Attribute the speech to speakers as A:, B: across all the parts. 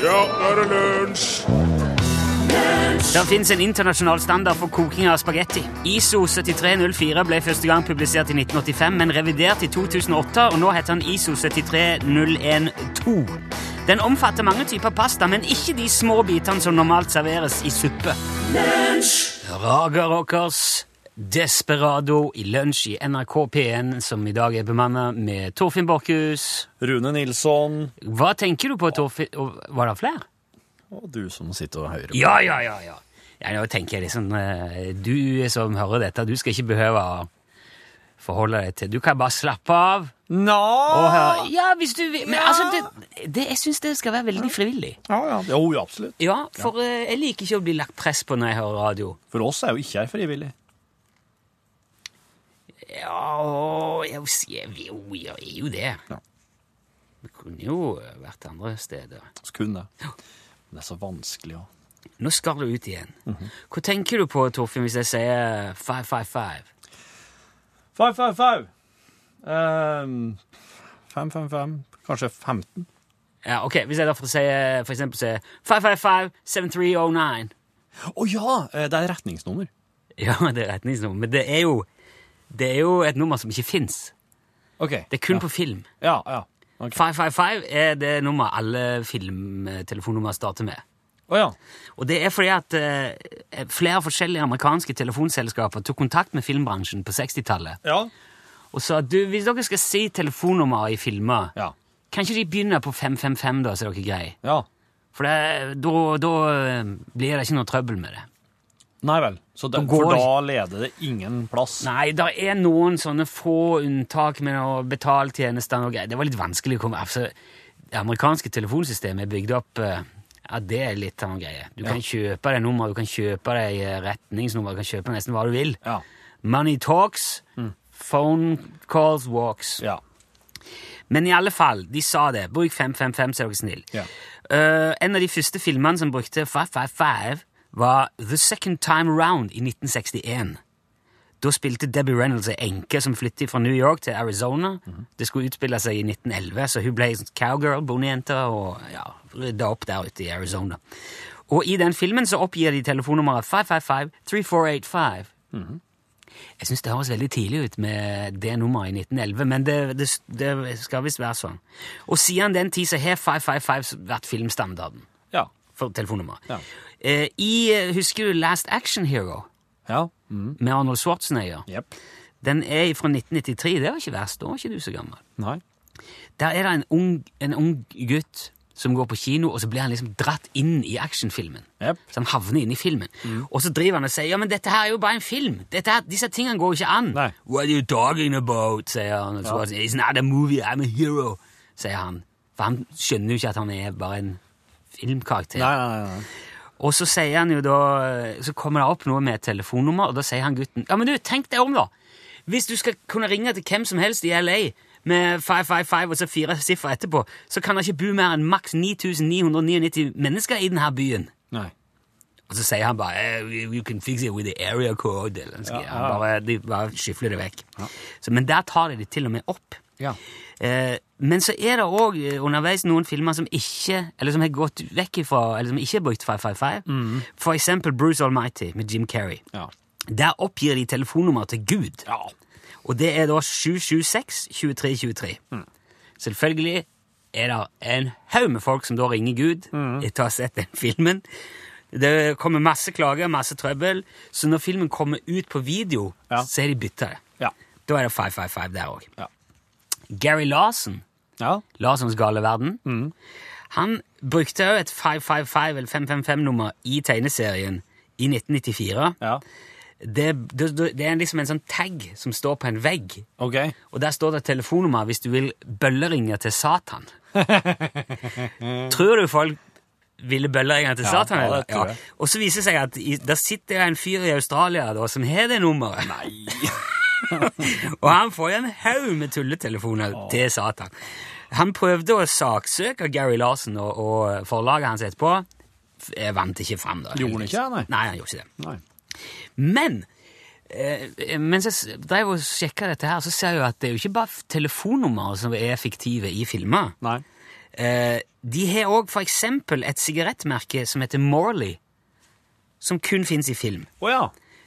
A: Da er det lunsj!
B: Det fins en internasjonal standard for koking av spagetti. ISO 7304 ble første gang publisert i 1985, men revidert i 2008, og nå heter den ISO 73012. Den omfatter mange typer pasta, men ikke de små bitene som normalt serveres i suppe. Raga Rockers, Desperado i lunsj i NRK P1, som i dag er bemanna med Torfinn Borchhus.
C: Rune Nilsson
B: Hva tenker du på, Torfinn? og Var det flere?
C: og du som sitter og hører.
B: Ja, ja, ja, ja. ja nå tenker jeg liksom, eh, du som hører dette, du skal ikke behøve å forholde deg til. Du kan bare slappe av og høre. Ah. Ja, hvis du vil. Men altså, det, det, jeg syns det skal være veldig frivillig.
C: Ja, ja. Jo, jo, absolutt.
B: Ja, for eh, jeg liker ikke å bli lagt press på når jeg hører radio.
C: For oss er jo ikke jeg frivillig.
B: Ja, og jeg, vil si- jeg, vil jo, jeg er jo det.
C: Ja.
B: Vi kunne jo vært andre steder.
C: Så kun det. Men det er så vanskelig å
B: Nå skal du ut igjen. Hva tenker du på, Torfinn, hvis jeg sier 555?
C: Five, five, five. Ehm, Fem, fem, fem. Kanskje 15?
B: Ja, ok, Hvis jeg derfor sier for eksempel sier 555-7309
C: Å ja! eh, Det er retningsnummer.
B: Ja, det er retningsnummer, men det er jo, det er jo et nummer som ikke fins.
C: Ok.
B: Det er kun på film.
C: Ja, ja. Ok.
B: 555 er det nummer alle filmtelefonnummer starter med.
C: Å ja.
B: Og det er fordi at eh, flere forskjellige amerikanske telefonselskaper tok kontakt med filmbransjen på 60-tallet
C: Ja.
B: og sa at du, hvis dere skal si telefonnummer i filmer,
C: Ja.
B: kan ikke de begynne på 555, da, så er dere greie?
C: ja.
B: For det- da da, eh, blir det ikke noe trøbbel med det.
C: Nei vel. Så det,
B: Da går
C: for
B: det
C: da leder det ingen plass.
B: Nei, det er noen sånne få unntak med å betale tjenestene og greier. Det var litt vanskelig å komme altså, Det amerikanske telefonsystemet er bygd opp eh, Ja, det er litt av noen greier. Du kan kjøpe deg nummer, du kan kjøpe deg eh, retningsnummer, du kan kjøpe nesten hva du vil.
C: Ja.
B: Money talks, phone calls walks.
C: Ja.
B: Men i alle fall, de sa det. Bruk 555, så er dere snill.
C: Ja.
B: Eh, en av de første filmene som brukte 555, var The Second Time Round i 1961. Da spilte Debbie Reynolds ei enke som flyttet fra New York til Arizona. Det skulle utspille seg i 1911, så hun ble en cowgirl, bondejente, og ja, rydda opp der ute i Arizona. Og i den filmen så oppgir de telefonnummeret 555-3485. Jeg syns det høres veldig tidlig ut med det nummeret i 1911, men det, det, det skal visst være sånn. Og siden den tid så har 555 vært filmstandarden
C: Ja.
B: for telefonnummer.
C: Ja.
B: Eh, I, eh, husker du Last Action Hero
C: Ja. Mm.
B: med Arnold Schwarzenegger?
C: Jepp.
B: Den er fra 1993, det var ikke verst, da var ikke du så gammel.
C: Nei.
B: Der er det en ung, en ung gutt som går på kino, og så blir han liksom dratt inn i actionfilmen.
C: Jepp.
B: Så han havner inne i filmen.
C: Mm.
B: Og så driver han og sier ja, men dette her er jo bare en film. Dette her, disse tingene går jo ikke an.
C: Nei.
B: What are you talking about? sier han. Og så bare sånn, It's not a movie, I'm a hero, sier han. For han skjønner jo ikke at han er bare en filmkarakter.
C: Nei, nei, nei, nei.
B: Og så sier han jo da, så kommer det opp noe med et telefonnummer, og da sier han gutten ja, men du, tenk deg om da. Hvis du skal kunne ringe til hvem som helst i LA med 555 og så fire siffer etterpå, så kan det ikke bo mer enn maks 9999 mennesker i denne byen.
C: nei.
B: Og så sier han bare eh, you- You can fix it with the area code. Eller noe sånt.
C: Ja,
B: Han
C: ja.
B: bare, de bare skyfler det vekk. Så, men der tar de det til og med opp.
C: Ja.
B: Eh, men så er det òg eh, underveis noen filmer som ikke Eller som har gått vekk ifra Eller som ikke er brukt 555.
C: Mm.
B: For eksempel Bruce Almighty med Jim Carrey.
C: Ja.
B: Der oppgir de telefonnummer til Gud.
C: Ja.
B: Og det er da 776 2323.
C: Mm.
B: Selvfølgelig er det en haug med folk som da ringer Gud
C: Mm.
B: etter å ha sett den filmen. Det kommer masse klager, masse trøbbel, så når filmen kommer ut på video,
C: Ja.
B: så er de bytta det.
C: Ja.
B: Da er det 555 der òg.
C: Ja.
B: Gary Larsen,
C: Ja.
B: Larsens gale verden,
C: Mm.
B: han brukte òg et 555 eller 555-nummer i tegneserien i 1994.
C: ja.
B: Det, det, det er liksom en sånn tag som står på en vegg
C: OK.
B: og der står det et telefonnummer hvis du vil bølleringe til Satan. Tror du folk ville bølleringe til
C: Ja,
B: Satan?
C: ja,
B: eller?
C: det tror jeg.
B: Og så viser det seg at i, der sitter det en fyr i Australia da, som har det nummeret. og han får jo en haug med tulletelefoner til Satan. Han prøvde å saksøke Gary Larsen og, og forlaget hans etterpå. F- eh, Vant ikke fram, da.
C: Gjorde han ikke det, nei?
B: Nei, han gjorde ikke det.
C: Nei.
B: Men eh, mens jeg s- drev og sjekka dette, her, så ser jeg jo at det er jo ikke bare f- telefonnummeret som er fiktive i filmer.
C: Nei.
B: Eh, de har òg for eksempel et sigarettmerke som heter Morley, som kun fins i film.
C: Å ja.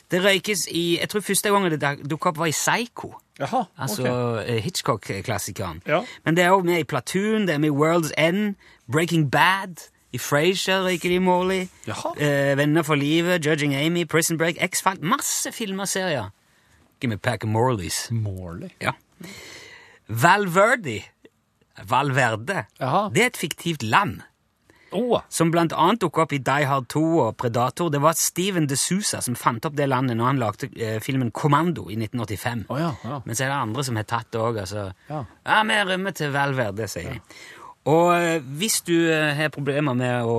B: Det røykes i Jeg tror første gangen det duk- dukket opp, var i Psycho.
C: Jaha,
B: Altså
C: ok.
B: eh, Hitchcock-klassikeren.
C: Ja.
B: Men det er òg med i Platoon, det er med i World's End, Breaking Bad, i Frasier røyker de Morley,
C: Jaha.
B: eh, Venner for livet, Judging Amy, Prison Break, X-Files Masse filmer og serier. Give me a pack of Morleys.
C: Morley.
B: Ja. Valverde, Valverde
C: Jaha.
B: det er et fiktivt land,
C: Å,
B: som blant annet dukket opp i Die Hard 2 og Predator. Det var Steven de Sousa som fant opp det landet når han lagde eh, filmen Kommando i 1985.
C: Å ja, ja.
B: Men så er det andre som har tatt det òg. Altså. Ja.
C: Ja.
B: vi rømmer til Valverde, sier de. Og eh, hvis du eh, har problemer med å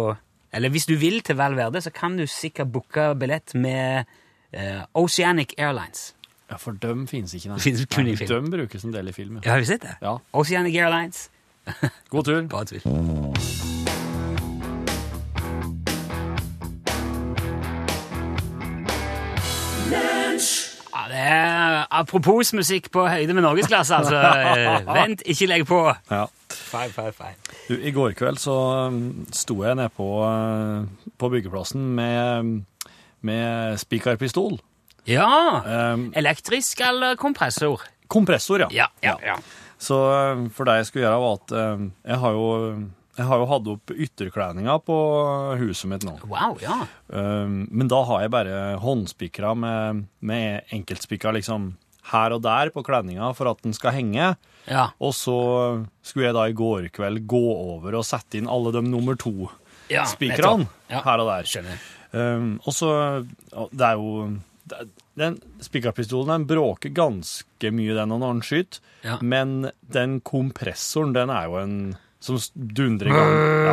B: Eller hvis du vil til Valverde, så kan du sikkert booke billett med eh, Oceanic Airlines.
C: ja, for døm finnes ikke, nei.
B: Finnes kun i
C: Nei,
B: film.
C: Døm brukes en del i film, ja.
B: Ja, har du sett det?
C: Ja.
B: Oceanic Airlines.
C: God tur.
B: Bare tull. Ja, det er apropos musikk på høyde med norgesklasse, altså. Eh, Vent, ikke legg på.
C: Ja.
B: Feil, feil, feil.
C: Du, I går kveld så um, sto jeg nede på, uh, på byggeplassen med, um, med spikerpistol.
B: Ja!
C: Um,
B: Elektrisk eller kompressor?
C: kompressor, ja.
B: ja.
C: Så um, for det jeg skulle gjøre, var at um, jeg har jo jeg har jo hatt opp ytterklæringa på uh, huset mitt nå.
B: Wow, ja.
C: Um, men da har jeg bare håndspikra med, med enkeltspikra liksom her og der på kledninga for at den skal henge.
B: Ja,
C: Og så skulle jeg da i går kveld gå over og sette inn alle de nummer
B: Ja,
C: to-spikrene
B: nettopp. Ja.
C: her og der.
B: skjønner.
C: Um, og så og Det er jo det er- Den spikerpistolen den bråker ganske mye, den, når den skyter.
B: Ja.
C: Men den kompressoren, den er jo en som s- dundrer i gang. Ja,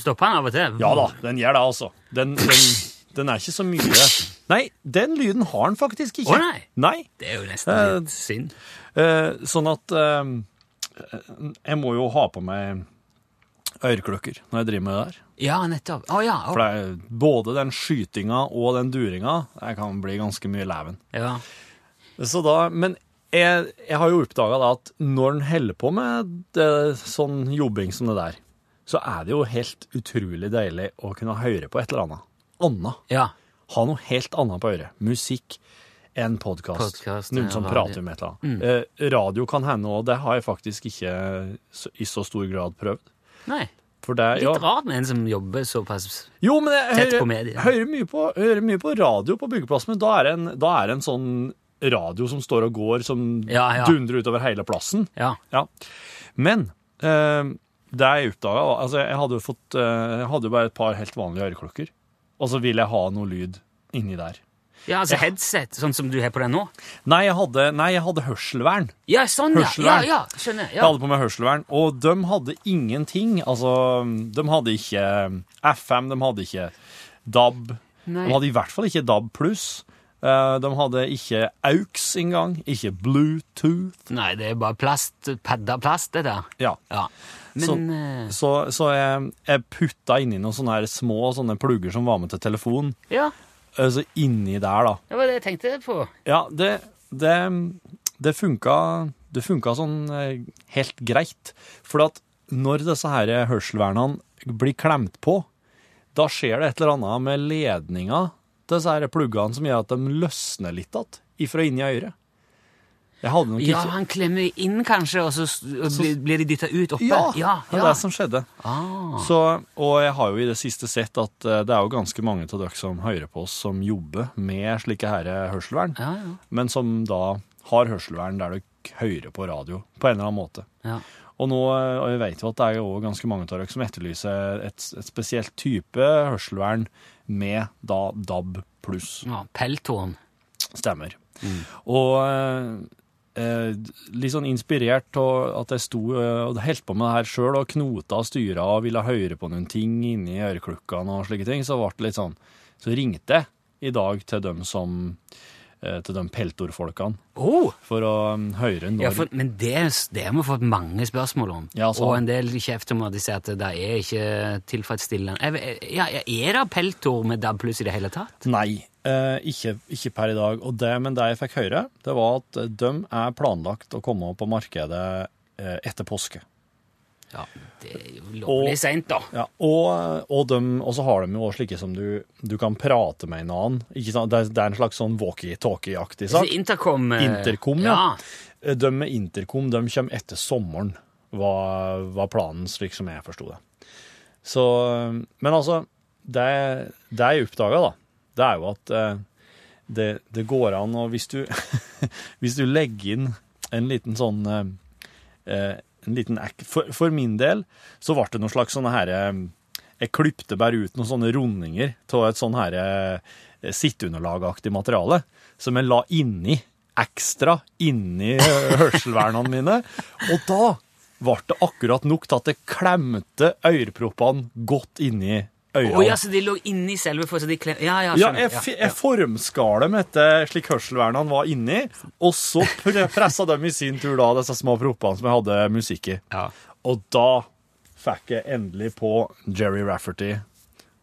B: Stopper han av og til?
C: ja da, den gjør det, altså. Den, den, den er ikke så mye Nei, den lyden har den faktisk ikke.
B: Å, nei.
C: nei.
B: Det er jo nesten litt synd.
C: Eh, sånn at eh, jeg må jo ha på meg øreklokker når jeg driver med det der.
B: Ja, nettopp. Å ja. å.
C: For det er både den skytinga og den duringa jeg kan bli ganske mye leven.
B: ja.
C: Så da, men jeg, jeg har jo oppdaga at når en holder på med det, sånn jobbing som det der, så er det jo helt utrolig deilig å kunne høre på et eller annet. Anna.
B: ja.
C: Ha noe helt annet på øret. Musikk, en podkast.
B: Podcast,
C: Noen
B: ja, Mm.
C: som
B: radio.
C: prater om et eller annet. Eh, radio kan hende òg. Det har jeg faktisk ikke så- i så stor grad prøvd.
B: Nei.
C: For det,
B: Litt
C: ja.
B: rart med en som jobber såpass
C: Jo, men jeg
B: Tett på
C: hører,
B: medier.
C: hører, mye på, hører mye på radio på byggeplassen, men da er det en, da er det en sånn radio som står og går, som
B: Ja, ja.
C: dundrer utover hele plassen.
B: Ja.
C: Ja. Men eh, det jeg oppdaga altså, Jeg hadde jo fått eh, Jeg hadde jo bare et par helt vanlige øreklokker, og så ville jeg ha noe lyd inni der.
B: ja, altså headset, sånn som du har på den nå?
C: Nei, jeg hadde, nei, jeg hadde hørselvern.
B: Ja, sånn, ja. Ja,
C: Hørselvern.
B: ja, skjønner.
C: Jeg
B: Ja.
C: hadde på meg hørselvern, og de hadde ingenting. Altså, de hadde ikke FM, de hadde ikke DAB.
B: Nei.
C: De hadde i hvert fall ikke DAB pluss. Eh, De hadde ikke AUX engang, ikke Bluetooth.
B: Nei, det er bare plast, padda plast, det der.
C: Ja.
B: Ja. Men
C: Sånn.
B: eh,
C: Så, så jeg, jeg putta inni noen sånne her små sånne plugger som var med til telefon.
B: Ja,
C: Eh, Så inni der, da.
B: det var det jeg tenkte på.
C: Ja, det, det, det, funka, det funka sånn eh, helt greit. For at når disse her hørselvernene blir klemt på, da skjer det et eller annet med ledninga til disse her pluggene som gjør at de løsner litt att ifra inni øret. Jeg hadde nok
B: Ja,
C: ikke
B: han klemmer inn kanskje, og så s- og blir, blir de dytta ut oppe.
C: Ja,
B: ja,
C: det er det som skjedde.
B: Ah,
C: Så, og jeg har jo i det siste sett at eh, det er jo ganske mange av dere som hører på oss, som jobber med slike her hørselvern.
B: ja, ja.
C: men som da har hørselvern der dere hører på radio på en eller annen måte.
B: ja.
C: Og nå, eh, og jeg vet jo at det er jo også ganske mange av dere som etterlyser et, et spesielt type hørselvern med da DAB pluss
B: ja Peltoren.
C: stemmer. Og eh, eh, litt sånn inspirert av at jeg sto eh, og holdt på med det her sjøl og knota og styra og ville høre på noen ting inni øreklukkene og slike ting, så ble det litt sånn Så ringte jeg i dag til dem som eh, Til de peltorfolkene
B: Oh,
C: for å um, høre når
B: ja, for, men det, det har vi fått mange spørsmål om.
C: Ja, så-
B: Og en del kjeft om at de sier at det er ikke tilfredsstillende. Jeg vet- Ja, er det peltor med DAB pluss i det hele tatt?
C: Nei, eh, ikke, ikke per i dag. Og det, men det jeg fikk høre, det var at de er planlagt å komme på markedet eh, etter påske.
B: Ja, det er jo lovlig
C: Og-
B: seint, da.
C: Ja, og, eh, og, dem- og så har de jo også slike som du, du kan prate med en annen. Ikke sant? Det, er, det er en slags sånn walkie-talkie-aktig
B: Så
C: sak.
B: Intercom eh,
C: Intercom, ja. De med Intercom de kommer etter sommeren, var, var planen, slik som jeg forsto det. Så, men altså, det, det jeg oppdaga, da, det er jo at eh, det, det går an å Hvis du, hvis du legger inn en liten sånn eh, eh, en liten ek, for, for min del så ble det noen slags sånne her eh, Jeg klypte bare ut noen sånne rundinger av et sånn her eh, sitteunderlagaktig materiale som jeg la inni ekstra inni eh, hørselvernene mine. Og da ble det akkurat nok til at jeg klemte øreproppene godt inni
B: Å
C: øya.
B: ja, så de lå inni selve for, så de klem... Ja, ja,
C: Ja,
B: skjønner.
C: jeg, fi- jeg formskar dem etter slik hørselvernene var inni, og så pre- pressa dem i sin tur da disse små proppene som jeg hadde musikk i.
B: ja.
C: Og da fikk jeg endelig på Jerry Rafferty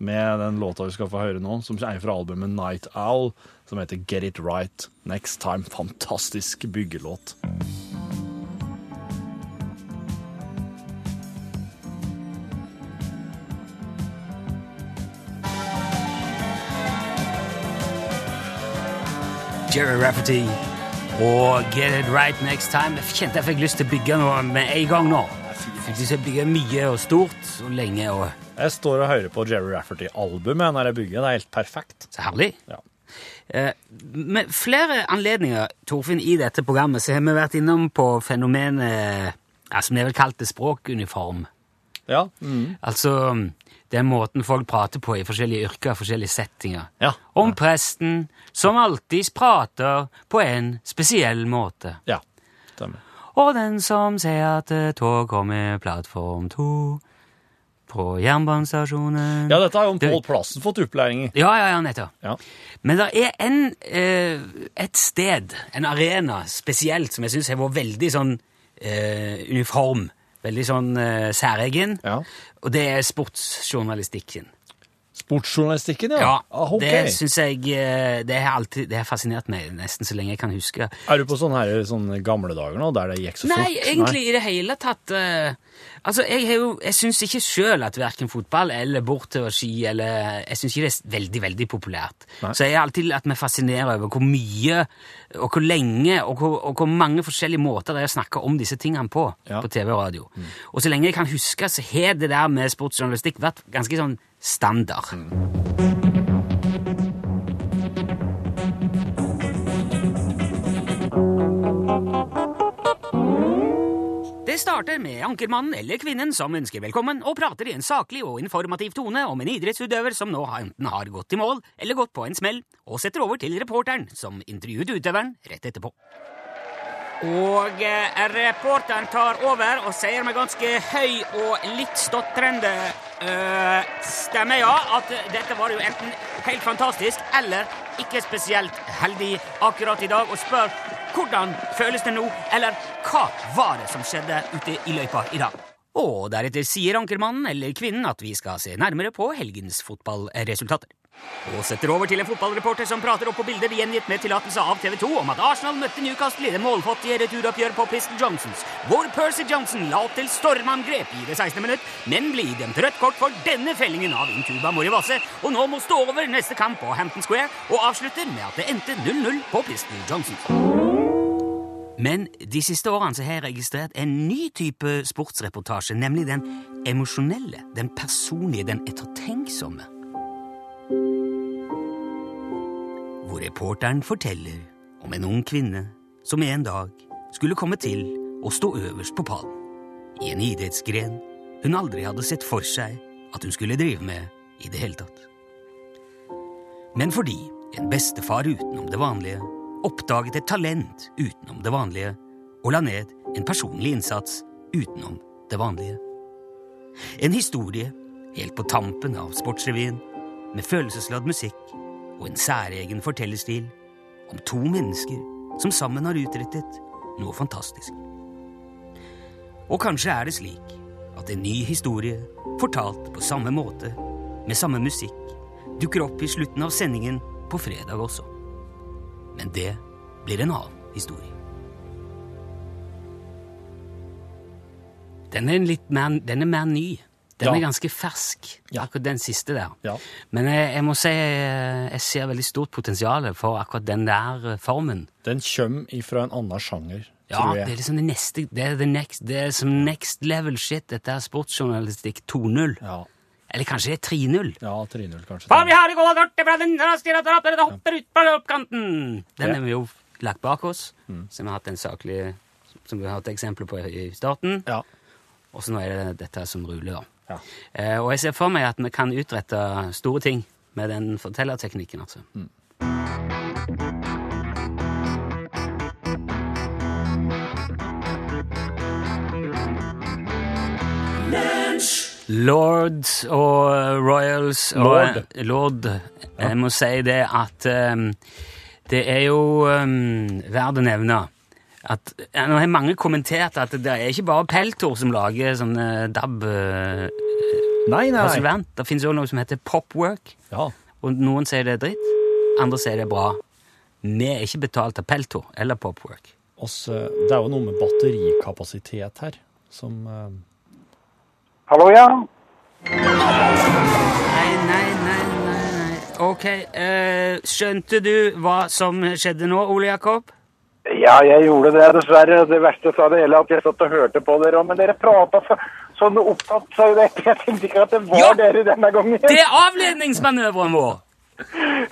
C: med den låta vi skal få høre nå, som er fra albumet Night Owl, som heter Get It Right Next Time. Fantastisk byggelåt.
B: Jerry Rafferty og Get It Right Next Time. Jeg kjente jeg fikk lyst til å bygge noe med en gang nå. Jeg fikk lyst til å bygge mye og stort og lenge og
C: Jeg står og hører på Jerry Rafferty-albumet når jeg bygger. Det er helt perfekt.
B: så herlig.
C: Ja.
B: Eh, Med flere anledninger, Torfinn, i dette programmet så har vi vært innom på fenomenet ja, som det er vel kalt det språkuniform.
C: Ja. Mm.
B: Altså den måten folk prater på i forskjellige yrker og forskjellige settinger.
C: Ja.
B: Om presten, som alltid prater på en spesiell måte.
C: ja. Stemmer.
B: Og den som ser at eh, tog kommer plattform to på jernbanestasjonen
C: Ja, dette har jo
B: Det-
C: Pål Plassen fått opplæring i.
B: ja, ja, ja, nettopp.
C: Ja.
B: Men det er en, eh, et sted, en arena spesielt, som jeg syns har vært veldig sånn eh, uniform. Veldig sånn eh, særegen.
C: Ja.
B: Og det er sportsjournalistikken.
C: Sportsjournalistikken, ja.
B: Ja,
C: Ah, ok.
B: Det syns jeg eh, Det har alltid det har fascinert meg nesten så lenge jeg kan huske.
C: Er du på sånne, her, sånne gamle dager nå, der det gikk så
B: Nei,
C: fort?
B: egentlig i det hele tatt eh, Altså, jeg, har jo- jeg syns ikke sjøl at verken fotball eller borte og ski eller Jeg syns ikke det er veldig, veldig populært.
C: Nei.
B: Så jeg har alltid latt meg fascinere over hvor mye og hvor lenge og hvor, og hvor mange forskjellige måter det er å snakke om disse tingene på
C: Ja.
B: på TV og radio. Og så lenge jeg kan huske, så har det der med sportsjournalistikk vært ganske sånn standard. Det starter med ankermannen eller kvinnen som ønsker velkommen, og prater i en saklig og informativ tone om en idrettsutøver som nå enten har gått i mål eller gått på en smell, og setter over til reporteren, som intervjuet utøveren rett etterpå. Og eh, reporteren tar over og sier med ganske høy og litt stotrende eh, stemme, ja, at dette var jo enten helt fantastisk eller ikke spesielt heldig akkurat i dag, og spør hvordan føles det nå, eller hva var det som skjedde ute i løypa i dag? Og deretter sier ankermannen eller kvinnen at vi skal se nærmere på helgens fotballresultater. Og setter over til en fotballreporter som prater opp på bilder gjengitt med tillatelse av TV 2 om at Arsenal møtte Newcastle i det målfattige returoppgjør på Piston Johnsons, hvor Percy Johnson la opp til stormangrep i det 16. minutt, men ble idømt rødt kort for denne fellingen av Intuba Morivasse, og nå må stå over neste kamp på Hampton Square, og avslutter med at det endte 0-0 på Piston Johnsons. Men de siste årene så har jeg registrert en ny type sportsreportasje, nemlig den emosjonelle, den personlige, den ettertenksomme. Hvor reporteren forteller om en ung kvinne som en dag skulle komme til å stå øverst på pallen i en idrettsgren hun aldri hadde sett for seg at hun skulle drive med i det hele tatt. Men fordi en bestefar utenom det vanlige oppdaget et talent utenom det vanlige og la ned en personlig innsats utenom det vanlige. En historie helt på tampen av Sportsrevyen med følelsesladd musikk og en særegen fortellerstil om to mennesker som sammen har utrettet noe fantastisk. Og kanskje er det slik at en ny historie, fortalt på samme måte, med samme musikk, dukker opp i slutten av sendingen på fredag også. Men det blir en annen historie. Den er, en litt mer, den er mer ny. Den
C: Ja.
B: er ganske fersk,
C: Ja.
B: akkurat den siste der.
C: Ja.
B: Men jeg, jeg må si eh, jeg ser veldig stort potensial for akkurat den der eh, formen.
C: Den kommer ifra en annen sjanger,
B: Ja,
C: tror
B: det er
C: jeg.
B: liksom det neste Det er, the next, det er som next level shit. Dette er sportsjournalistikk 2.0.
C: Ja,
B: Eller kanskje det er 3.0.
C: ja 3-0, kanskje.
B: Faen, vi har det gode kortet fra den raskere drapen, det hopper ut på oppkanten! Den
C: Ja. Mm.
B: har vi jo lagt bak oss, som vi har hatt en saklig Som vi har hatt eksempler på i starten.
C: Ja.
B: Og så nå er det dette som ruler, da.
C: ja.
B: Eh, og jeg ser for meg at vi kan utrette store ting med den fortellerteknikken, altså. Lords og Royals og
C: Lord.
B: Lord. Jeg må si det at eh, det er jo um, verdt å nevne at ja, Nå har mange kommentert at det er ikke bare Peltor som lager sånne DAB. eh,
C: Nei, nei.
B: Hasselvern. Det finnes også noe som heter popwork.
C: Ja.
B: Og noen sier det er dritt, andre sier det er bra. Vi er ikke betalt av Pelto eller popwork.
C: Oss, eh, det er jo noe med batterikapasitet her som eh,
A: Hallo, ja.
B: Nei, nei, nei, nei, nei. Ok, eh, skjønte du hva som skjedde nå, Ole Jakob?
A: Ja, jeg gjorde det, dessverre. Det verste sa det hele at jeg satt og hørte på dere òg, men dere prata så, sånn opptatt, så det, jeg tenkte ikke at det var
B: Ja.
A: dere denne gangen.
B: Det er avledningsmanøveren vår!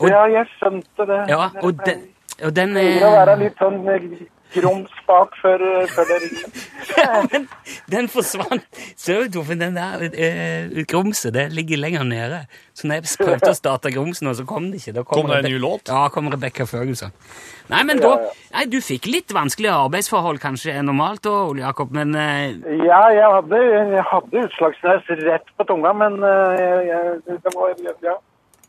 A: Ja, jeg skjønte det.
B: Ja, og
A: Dere
B: den, og den
A: pleier å være
B: er
A: litt sånn eh, grums bak før, eh, før dere
B: den, den forsvant. Så du, Torfinn, den der eh, grumset, det ligger lenger nede. Så når jeg prøvde å starte grumsen, og så kom det ikke. Da
C: Kom det en
B: Rebe-
C: ny låt?
B: Ja, kom Rebecca Ferguson. Nei, men da, nei, du fikk litt vanskeligere arbeidsforhold kanskje enn normalt da, Ole Jakob, men eh,
A: Ja, jeg hadde, jeg hadde utslagsnes rett på tunga, men eh, jeg, jeg, det var Ja.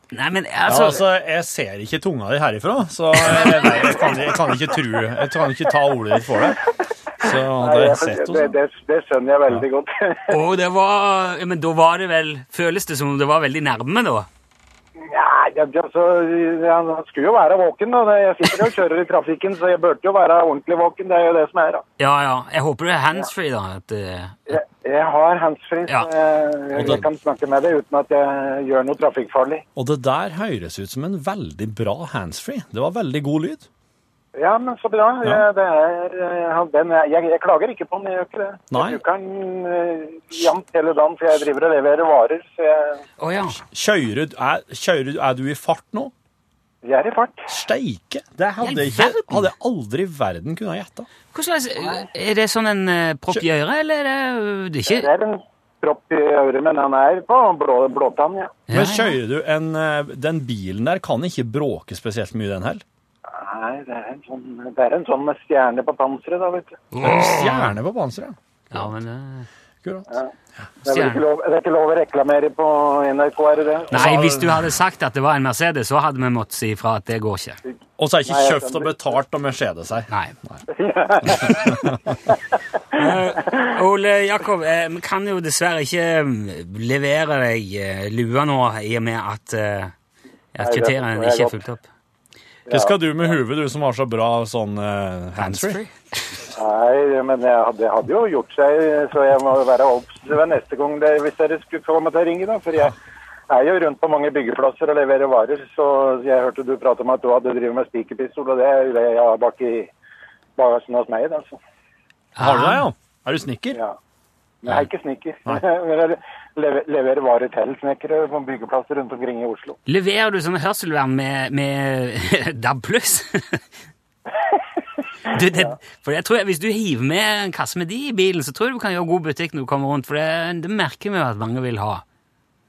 B: Nei, men
C: ja,
B: altså,
C: altså, Jeg ser ikke tunga di herifra, så eh, jeg, nei, jeg, kan, jeg kan ikke tru Jeg kan ikke ta ordet ditt for deg. Så
A: Nei,
C: hadde jeg
A: jeg,
C: sett sånn. oss.
A: det, det, det skjønner jeg veldig godt.
B: Og det var ja, Men da var det vel Føles det som om det var veldig nærme, da?
A: Nei, jeg- altså, jeg skulle jo være våken. da. Jeg sitter jo og kjører i trafikken, så jeg burde jo være ordentlig våken. Det er jo det som er. da.
B: Ja, ja. Jeg håper det er handsfree, da. At, eh,
A: Jeg, jeg har handsfree, så
B: Ja.
A: jeg,
C: Og
A: jeg,
C: den-
A: kan snakke med deg uten at jeg gjør noe trafikkfarlig.
C: Og det der høres ut som en veldig bra handsfree. Det var veldig god lyd.
A: Ja, men så bra.
C: Ja.
A: Jeg, det er, jeg, den er, jeg, jeg klager ikke på den, jeg gjør ikke det.
C: Nei.
A: Jeg bruker den eh, jevnt hele dagen, for jeg driver og leverer varer. Så jeg,
B: Å ja.
C: Kjører, du- er, kjører, du- er du i fart nå?
A: jeg er i fart.
C: Steike! Det hadde
B: I
C: jeg ikke,
B: verden.
C: hadde jeg aldri i verden kunnet gjette.
B: Hvordan, er- er det sånn en eh, propp i øret, eller er det, det er
A: Det
B: ikke
A: er en propp i øret, men han er på blå, blåtann, ja.
B: Ja,
C: Men
B: ja.
C: kjører du en eh, Den bilen der kan ikke bråke spesielt mye, den heller.
A: Nei, det er en sånn, det er en sånn med stjerne på panseret, da, vet du.
C: Stjerne på panseret.
B: Ja, men eh,
C: Akkurat.
A: Det er, vel ikke
B: Stjerne.
A: lov, det er ikke lov å reklamere på NRK, er det det?
B: Nei, hvis du hadde sagt at det var en Mercedes, så hadde vi måttet si ifra at det går ikke.
C: Og så er ikke
A: Nei, jeg
C: kjøpt og
A: skjønner.
C: betalt og Mercedes her.
B: Nei. Eh, Ole Jakob, eh, vi kan jo dessverre ikke mm, levere deg eh, lua nå, i og med at, eh, at
A: Nei, det
B: kriteriene
A: forstår jeg
B: ikke er
A: godt.
B: fulgt opp.
C: Det skal du med huet, du som har så bra sånn eh, handsfree.
A: Nei, men jeg hadde, det hadde jo gjort seg, så jeg må være obs ved neste gang det, hvis dere skulle få meg til å ringe, da. For jeg er jo rundt på mange byggeplasser og leverer varer, så jeg hørte du prate om at du hadde drevet med spikerpistol, og det er jo det jeg har bak i bagasjen hos meg, da. Så.
C: Har du det, ja? Er du snekker?
A: Ja. Men jeg er ikke snekker. Men jeg lever- leverer varer til snekkere på byggeplasser rundt omkring i Oslo.
B: Leverer du sånn hørselvern med, med DAB pluss? Du, det, for jeg tror jeg, Hvis du hiver med en kasse med de i bilen, så tror jeg du kan gjøre god butikk når du kommer rundt, for det, det merker vi jo at mange vil ha.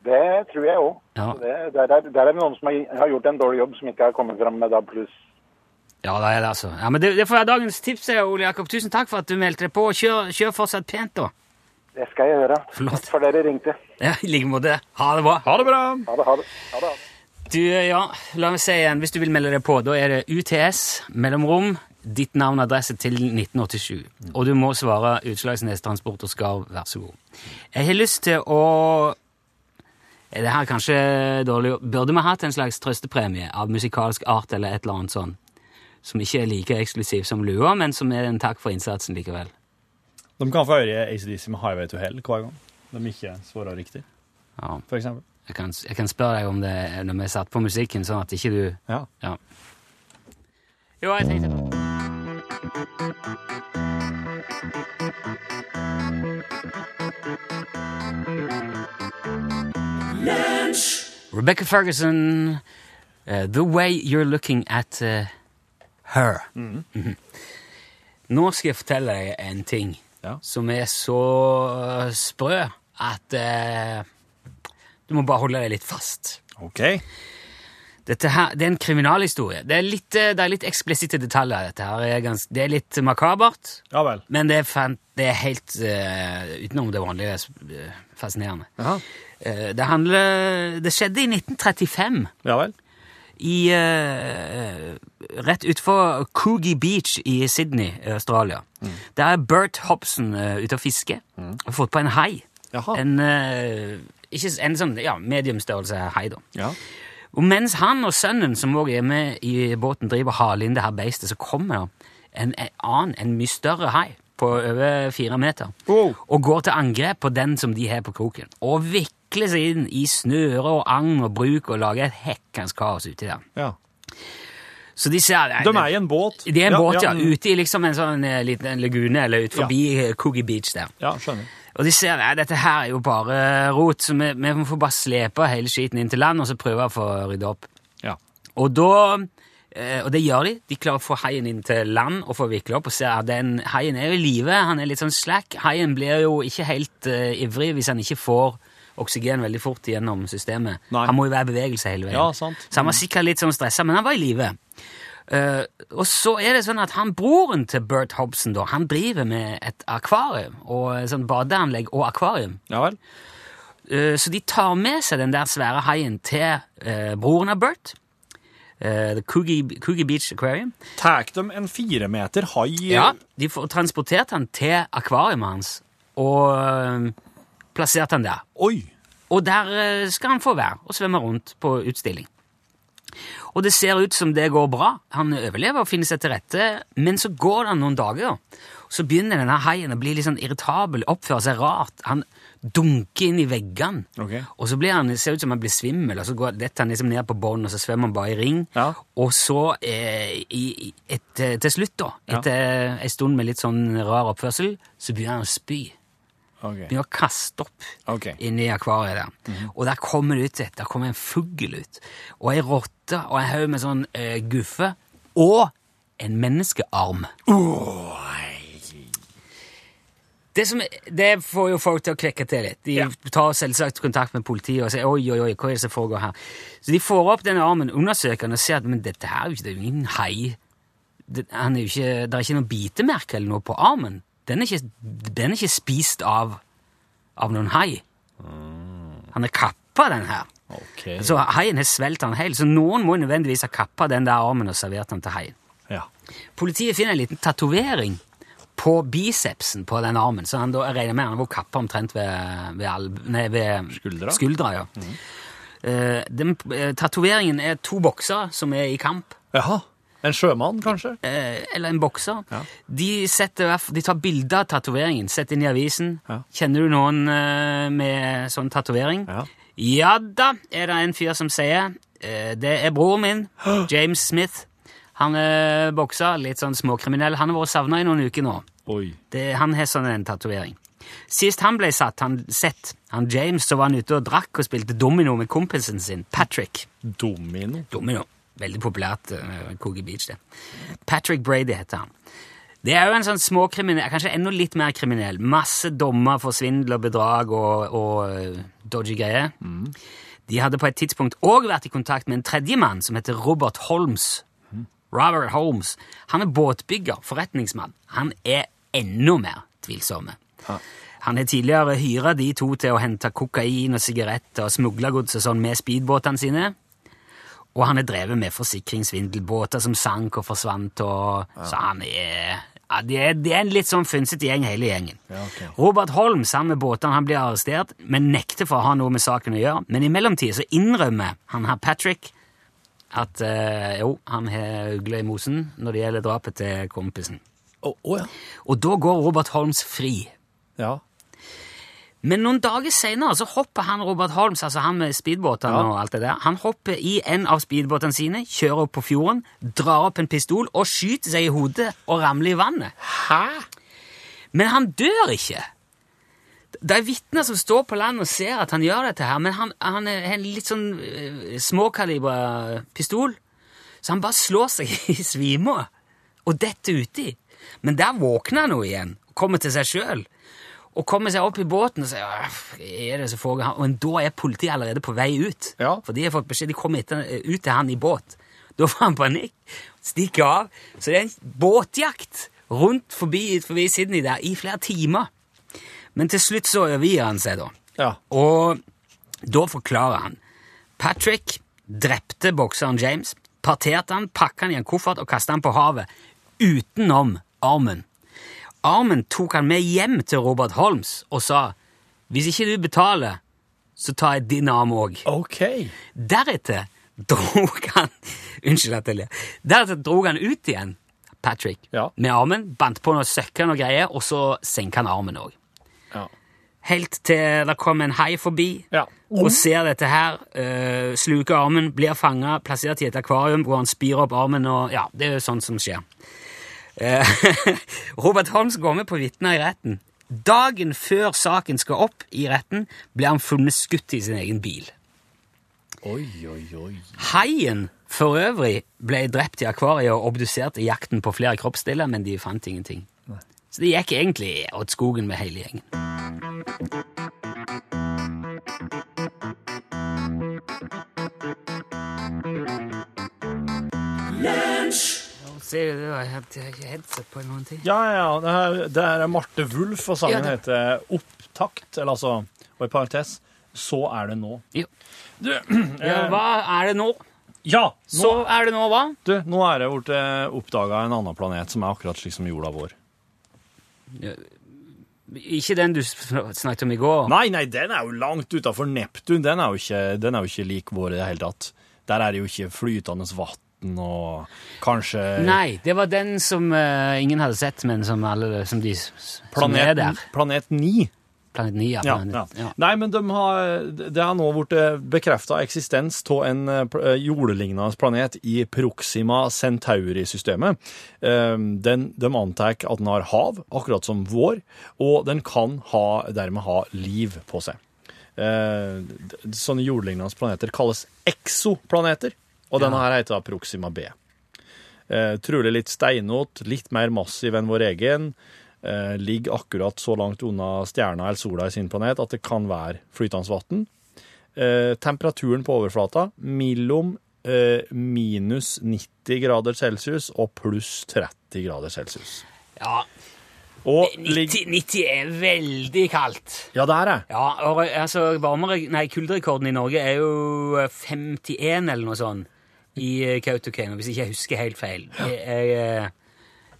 A: Det tror jeg òg.
B: Ja.
A: Der, er- der er det noen som har har gjort en dårlig jobb, som ikke har kommet fram med DAB pluss.
B: Ja, det er det, altså. Ja, men det, det får være dagens tips, eh, Ole Jakob. Tusen takk for at du meldte deg på. Kjør, kjør fortsatt pent, da.
A: Det skal jeg gjøre.
B: Flott.
A: Takk for dere ringte.
B: Ja, I like måte. Ha det bra.
C: Ha det bra!
A: Ha det. Ha det. Ha det.
B: Du, eh, ja, la meg si igjen, hvis du vil melde deg på, da er det UTS, mellomrom, ditt navn og adresse til 1987. Og du må svare Utslagsnes Transport og Skarv, vær så god. Jeg har lyst til å Er det her kanskje dårlig Burde vi hatt en slags trøstepremie av musikalsk art eller et eller annet sånn? Som ikke er like eksklusiv som lua, men som er en takk for innsatsen likevel.
C: De kan få høre ACDC med Highway to Hell hver gang de ikke svarer riktig,
B: Ja.
C: for eksempel.
B: Jeg, kan, jeg kan spørre deg om det når vi er satt på musikken, sånn at ikke du
C: Ja.
B: Ja. Jo, jeg tenkte på Rebecca Ferguson, eh, The Way You're Looking At eh, Her. Mhm. Nå skal jeg fortelle deg en ting
C: Ja.
B: som er så sprø at eh, du må bare holde deg litt fast.
C: OK.
B: Dette her, det er en kriminalhistorie. Det er litt, eh, det er litt eksplisitte detaljer. Dette her er gans, det er litt makabert,
C: Ja vel.
B: men det er, fan, det er helt eh, utenom det vanlige eh, fascinerende. Eh, det handler Det skjedde i 1935
C: Ja vel.
B: i eh, Rett utfor Coogie Beach i Sydney, Australia. Der er Bert Hobson eh, ute og fisker og fått på en hai.
C: Jaha.
B: En, eh, ikke, s- en sånn ja, mediumstørrelse hai, da.
C: Ja.
B: Og mens han og sønnen, som også er med i båten, driver hale inn det her beistet, så kommer det en, en annen, en mye større hai på over fire meter,
C: Wow.
B: og går til angrep på den som de har på kroken, og vikler seg inn i snøre og agn og bruk og lager et hekkans kaos uti der.
C: ja.
B: Så de ser...
C: De er i en båt.
B: De er en båt, ja,
C: mm.
B: ute i liksom en sånn eh, liten lagune, eller ut forbi eh, Coogie Beach der.
C: Ja, skjønner.
B: Og de ser at dette her er jo bare rot, så vi, vi får bare slepe hele skiten inn til land, og så prøve å få rydde opp.
C: Ja.
B: Og da eh, Og det gjør de. De klarer å få haien inn til land og få vikla opp. og ser at den Haien er jo i live, han er litt sånn slack. Haien blir jo ikke helt eh, ivrig hvis han ikke får oksygen veldig fort gjennom systemet.
C: Nei.
B: Han må jo være i bevegelse hele veien.
C: Ja, sant. Mm.
B: Så han var sikkert litt sånn stressa, men han var i live. Eh, og så er det sånn at han broren til Bert Hobson da, han driver med et akvarium, og sånn badeanlegg og akvarium.
C: Ja vel.
B: Eh, Så de tar med seg den der svære haien til eh, broren av Bert. eh, The Coogie, Coogie Beach Aquarium.
C: Tar de en firemeter hai eh?
B: Ja, De får transportert han til akvariet hans og eh, plassert han der.
C: Oi!
B: Og der eh, skal han få være og svømme rundt på utstilling. Og det ser ut som det går bra. Han overlever og finner seg til rette, men så går det noen dager. Så begynner denne haien å bli litt sånn irritabel, oppføre seg rart. Han dunker inn i veggene.
C: Ok.
B: Og så blir han, det ser ut som han blir svimmel, og så går, detter han liksom ned på bånd, og så svømmer han bare i ring.
C: Ja.
B: Og så, eh, i, i- et, eh, til slutt da, etter en stund med litt sånn rar oppførsel, så begynner han å spy.
C: OK.
B: Begynner å kaste opp
C: Ok.
B: inne i akvariet der. Og der kommer det ut et, der kommer en fugl ut, og en rotte, og en haug med sånn eh, guffe, og en menneskearm. Det, som, det får jo folk til å kvekke til litt. De
C: Ja.
B: tar selvsagt kontakt med politiet og sier oi, oi, oi, hva er det som foregår her? Så de får opp den armen, undersøker den og ser at men dette her er jo ikke det er jo ingen hai. Det, han er jo ikke, det er ikke noe bitemerke eller noe på armen. Den er ikke, den er ikke spist av, av noen hai. Han er kappa, den her.
C: Ok.
B: Så haien har svelget han helt, så noen må nødvendigvis ha kappa den der armen og servert den til haien.
C: Ja.
B: Politiet finner en liten tatovering på bicepsen på den armen, så han da jeg regner med han var kappa omtrent ved, ved, alb, nei, ved
C: Skuldra?
B: ja. Eh, den eh, tatoveringen er to bokser som er i kamp,
C: Jaha. En sjømann, kanskje?
B: eh, eller en bokser. De, setter, i hvert fall- de tar bilder av tatoveringen, setter inn i avisen.
C: Ja.
B: Kjenner du noen eh, med sånn tatovering?
C: Ja.
B: Ja da, er det en fyr som sier eh, Det er broren min, James Smith. Han er bokser, litt sånn småkriminell. Han har vært savna i noen uker nå.
C: Oi.
B: Det, han har sånn en tatovering. Sist han ble satt, han, sett, han James, så var han ute og drakk og spilte domino med kompisen sin, Patrick.
C: Domino.
B: Domino. Veldig populært uh, Coogie Beach, det. Patrick Brady heter han. Det er jo en sånn småkriminell, kanskje enda litt mer kriminell. Masse dommer for svindel og bedrag og, og eh, dodgy greier. De hadde på et tidspunkt òg vært i kontakt med en tredjemann som heter Robert Holmes. Robert Holmes. Han er båtbygger, forretningsmann. Han er enda mer tvilsomme. Han har tidligere hyra de to til å hente kokain og sigaretter og smuglergods og sånn med speedbåtene sine. Og han er drevet med forsikringssvindelbåter som sank og forsvant, og så han er ja, det, er, det er en litt sånn fynset gjeng, hele gjengen.
C: ok.
B: Robert Holm sammen med båtene han blir arrestert, men nekter for å ha noe med saken å gjøre. Men i mellomtiden så innrømmer han her Patrick at eh, jo, han har øgler i mosen når det gjelder drapet til kompisen.
C: Å å, ja.
B: Og da går Robert Holmes fri.
C: ja.
B: Men noen dager senere så hopper han Robert Holmes, altså han med speedbåtene
C: Ja.
B: og alt det der, han hopper i en av speedbåtene sine, kjører opp på fjorden, drar opp en pistol og skyter seg i hodet og ramler i vannet.
C: Hæ?
B: Men han dør ikke. Det er vitner som står på land og ser at han gjør dette her, men han, han er en litt sånn eh, småkalibra pistol, så han bare slår seg i svime og detter uti. Men der våkner han jo igjen, kommer til seg sjøl og kommer seg opp i båten og sier «Åh, hva er det som foregår her?» Og da er politiet allerede på vei ut.
C: Ja.
B: For de har fått beskjed, de kommer etter, eh, ut til han i båt. Da får han panikk, stikker av. Så det er en båtjakt rundt forbi, forbi Sydney der i flere timer. Men til slutt så overgir han seg, da.
C: Ja.
B: Og da forklarer han. Patrick drepte bokseren James, parterte han, pakket han i en koffert og kastet han på havet, utenom armen. Armen tok han med hjem til Robert Holmes og sa, hvis ikke du betaler, så tar jeg din arm også.
C: OK.
B: Deretter drog han Unnskyld at jeg ler. Deretter drog han ut igjen, Patrick,
C: Ja.
B: med armen, bandt på noe søkker og greier, og så senka han armen òg.
C: Ja.
B: Helt til det kom en hai forbi
C: Ja.
B: og ser dette her, eh, sluker armen, blir fanga, plassert i et akvarium hvor han spyr opp armen og Ja, det er jo sånt som skjer. Eh, Robert Holmes går med på vitner i retten. Dagen før saken skal opp i retten, blir han funnet skutt i sin egen bil.
C: Oi, oi, oi.
B: Haien for øvrig ble drept i akvariet og obdusert i jakten på flere kroppsdeler, men de fant ingenting. Så det gikk egentlig åt skogen med hele gjengen. Ser du, det var- jeg hadde ikke headset på i noen tid.
C: Ja, ja, ja. Det her- Det her er Marte Wulf, og sangen
B: Ja,
C: heter Opptakt, eller altså, og i parentes, Så er det nå.
B: Jo.
C: Du,
B: Ja,
C: eh,
B: hva er det nå?
C: ja, nå,
B: Så er det nå, hva?
C: du, nå er det blitt oppdaga en annen planet som er akkurat slik som jorda vår.
B: Ikke den du sn- snakket om i går.
C: Nei, nei, den er jo langt utafor Neptun. Den er jo ikke, den er jo ikke lik vår i det hele tatt. Der er det jo ikke flytende vann og kanskje
B: Nei, det var den som eh, ingen hadde sett, men som alle som de s- s- som er
C: planet,
B: der.
C: planet 9.
B: Planet 9, ja.
C: Ja, ja.
B: planet, ja.
C: Nei, men de har, det har nå blitt bekrefta eksistens av en eh, pl- eh, jordelignende planet i Proxima Centauri-systemet. Eh, Den, de antar at den har hav, akkurat som vår, og den kan ha, dermed ha liv på seg. Eh, d- Sånne jordelignende planeter kalles exoplaneter, og denne her heter da Proxima B. Eh, Trolig litt steinete, litt mer massiv enn vår egen eh, ligger akkurat så langt unna stjerna eller sola i sin planet at det kan være flytende vann. Eh, temperaturen på overflata mellom eh, minus 90 grader celsius og pluss 30 grader celsius.
B: ja.
C: Og ligger
B: 90, 90 er veldig kaldt.
C: Ja, der er jeg.
B: Ja, og eh, altså, varmere, nei, kulderekorden i Norge er jo eh, 51 eller noe sånt i eh, Kautokeino, hvis ikke jeg husker helt feil. Jeg, jeg, eh,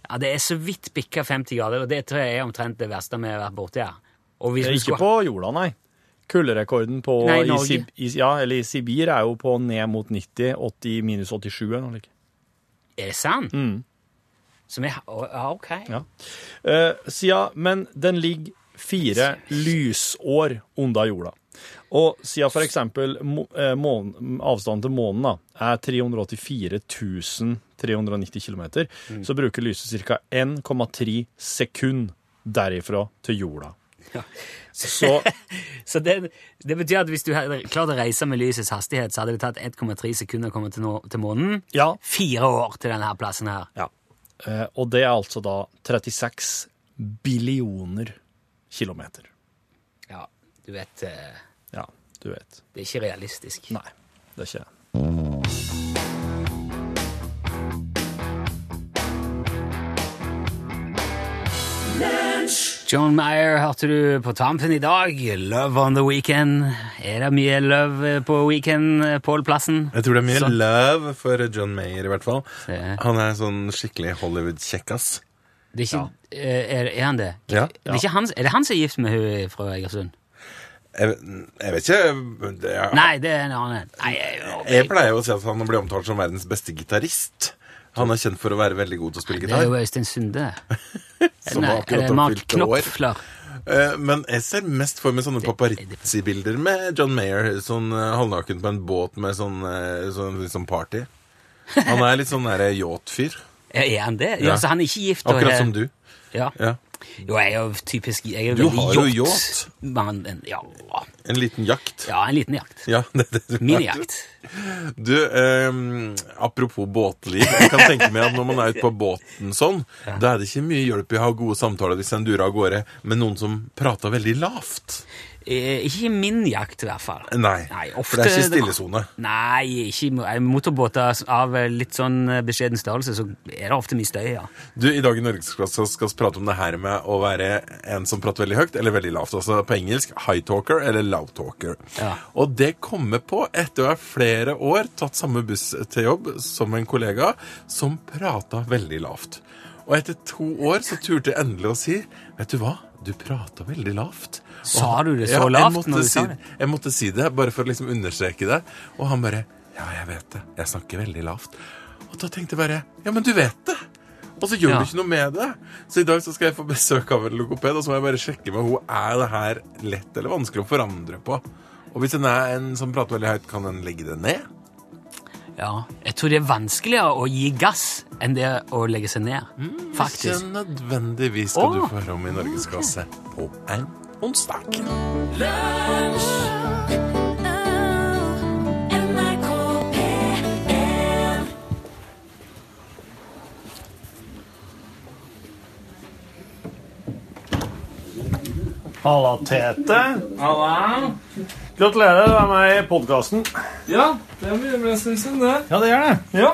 B: ja, det er så vidt bikka 50 grader, og det tror jeg er omtrent det verste vi har vært borti her. Og hvis vi
C: Ikke
B: skulle-
C: på jorda, nei. Kulderekorden på
B: Nei,
C: i,
B: Norge.
C: Sib, i, ja, eller i Sibir er jo på ned mot 90, 80, minus 87 eller noe likt.
B: Er det sant? Så vi har Mm. ja, OK.
C: Ja. Eh, siden, men den ligger fire lysår under jorda. Og siden for eksempel må, eh, månen- avstanden til månen da, er 384 390 km, så bruker lyset ca. 1,3 sekund derifra til jorda. Så
B: Så det, det betyr at hvis du hadde klart å reise med lysets hastighet, så hadde det tatt 1,3 sekunder å komme til, nå, til månen.
C: ja,
B: Fire år til denne her plassen her.
C: ja. Eh, og det er altså da 36 billioner kilometer.
B: Ja, du vet eh,
C: Ja, du vet.
B: Det er ikke realistisk.
C: Nei, det er ikke det.
B: John Mayer hørte du på tampen i dag. Love on the weekend. Er det mye love på weekend, Pål Plassen?
D: Jeg tror det er mye
B: Sant.
D: love for John Mayer, i hvert fall.
B: Det er-
D: Han er en sånn skikkelig Hollywood-kjekkas.
B: Det er, ikke, eh, er, er han det?
D: Ja.
B: Er, det ikke han, er det han som er gift med hun fra Egersund?
D: Jeg, jeg vet ikke det er,
B: Nei, det er en annen. Nei, jeg,
D: Jeg pleier jo å si at han blir omtalt som verdens beste gitarist. Han er kjent for å være veldig god til å spille
B: Det er jo
D: gitar.
B: Øystein Sunde.
D: Som
B: Nei,
D: akkurat
B: er det
D: har
B: Mark
D: fylt år.
B: Knopfler?
D: Eh, Men jeg ser mest for meg sånne paparazzi-bilder med John Mayer sånn eh, halvnaken på en båt med sånn, eh, sånn litt sånn party. Han er litt sånn derre yachtfyr.
B: Er han det? Ja,
D: Ja.
B: så han er ikke gift? og
D: Akkurat
B: det-
D: som du.
B: Ja.
D: Ja.
B: Jo, jeg er jo typisk Jeg er jo
D: Du
B: veldig
D: har jo
B: yacht.
D: yacht.
B: Men, en- ja,
D: En liten jakt.
B: ja, en liten jakt.
D: Ja, det er det du
B: Min
D: er.
B: jakt.
D: Du, ehm, apropos båtliv. Jeg kan tenke meg at når man er ute på båten sånn, da er det ikke mye hjelp i å ha gode samtaler hvis en durer av gårde med noen som prater veldig lavt.
B: Eh, ikke min jakt, i hvert fall.
D: Nei,
B: ofte,
D: for det er ikke stillesone.
B: Nei, ikke i mo- eh, motorbåter av eh, litt sånn eh, beskjeden størrelse, så er det ofte mye støy, ja.
D: Du, i dag i Norgesklasse skal vi prate om det her med å være en som prater veldig høyt, eller veldig lavt. Altså på engelsk high talker eller loud talker.
B: Ja.
D: Og det kommer på etter å ha flere år tatt samme buss til jobb som en kollega som prata veldig lavt. Og etter to år så turte jeg endelig å si Vet du hva, du prata veldig lavt. Og
B: Sa
D: han-
B: du det så
D: jeg
B: lavt
D: måtte
B: når du
D: si,
B: sa det?
D: Jeg måtte si det, bare for å liksom understreke det. Og han bare Ja, jeg vet det. Jeg snakker veldig lavt. Og da tenkte jeg bare Ja, men du vet det! Og så gjør
B: Ja.
D: du ikke noe med det. Så i dag så skal jeg få besøk av en logoped, og så må jeg bare sjekke med henne er det her lett eller vanskelig å forandre på. Og hvis en er en som prater veldig høyt, kan en legge det ned?
B: ja. Jeg tror det er vanskeligere å gi gass enn det å legge seg ned, faktisk.
D: Ikke nødvendigvis skal
B: Åh.
D: du få høre om i Norgesklasse på en onsdag.
E: Halla, Tete. Gratulerer, du er med i podkasten.
F: Ja, det blir en stund siden, det.
E: Ja, det gjør det.
F: Ja.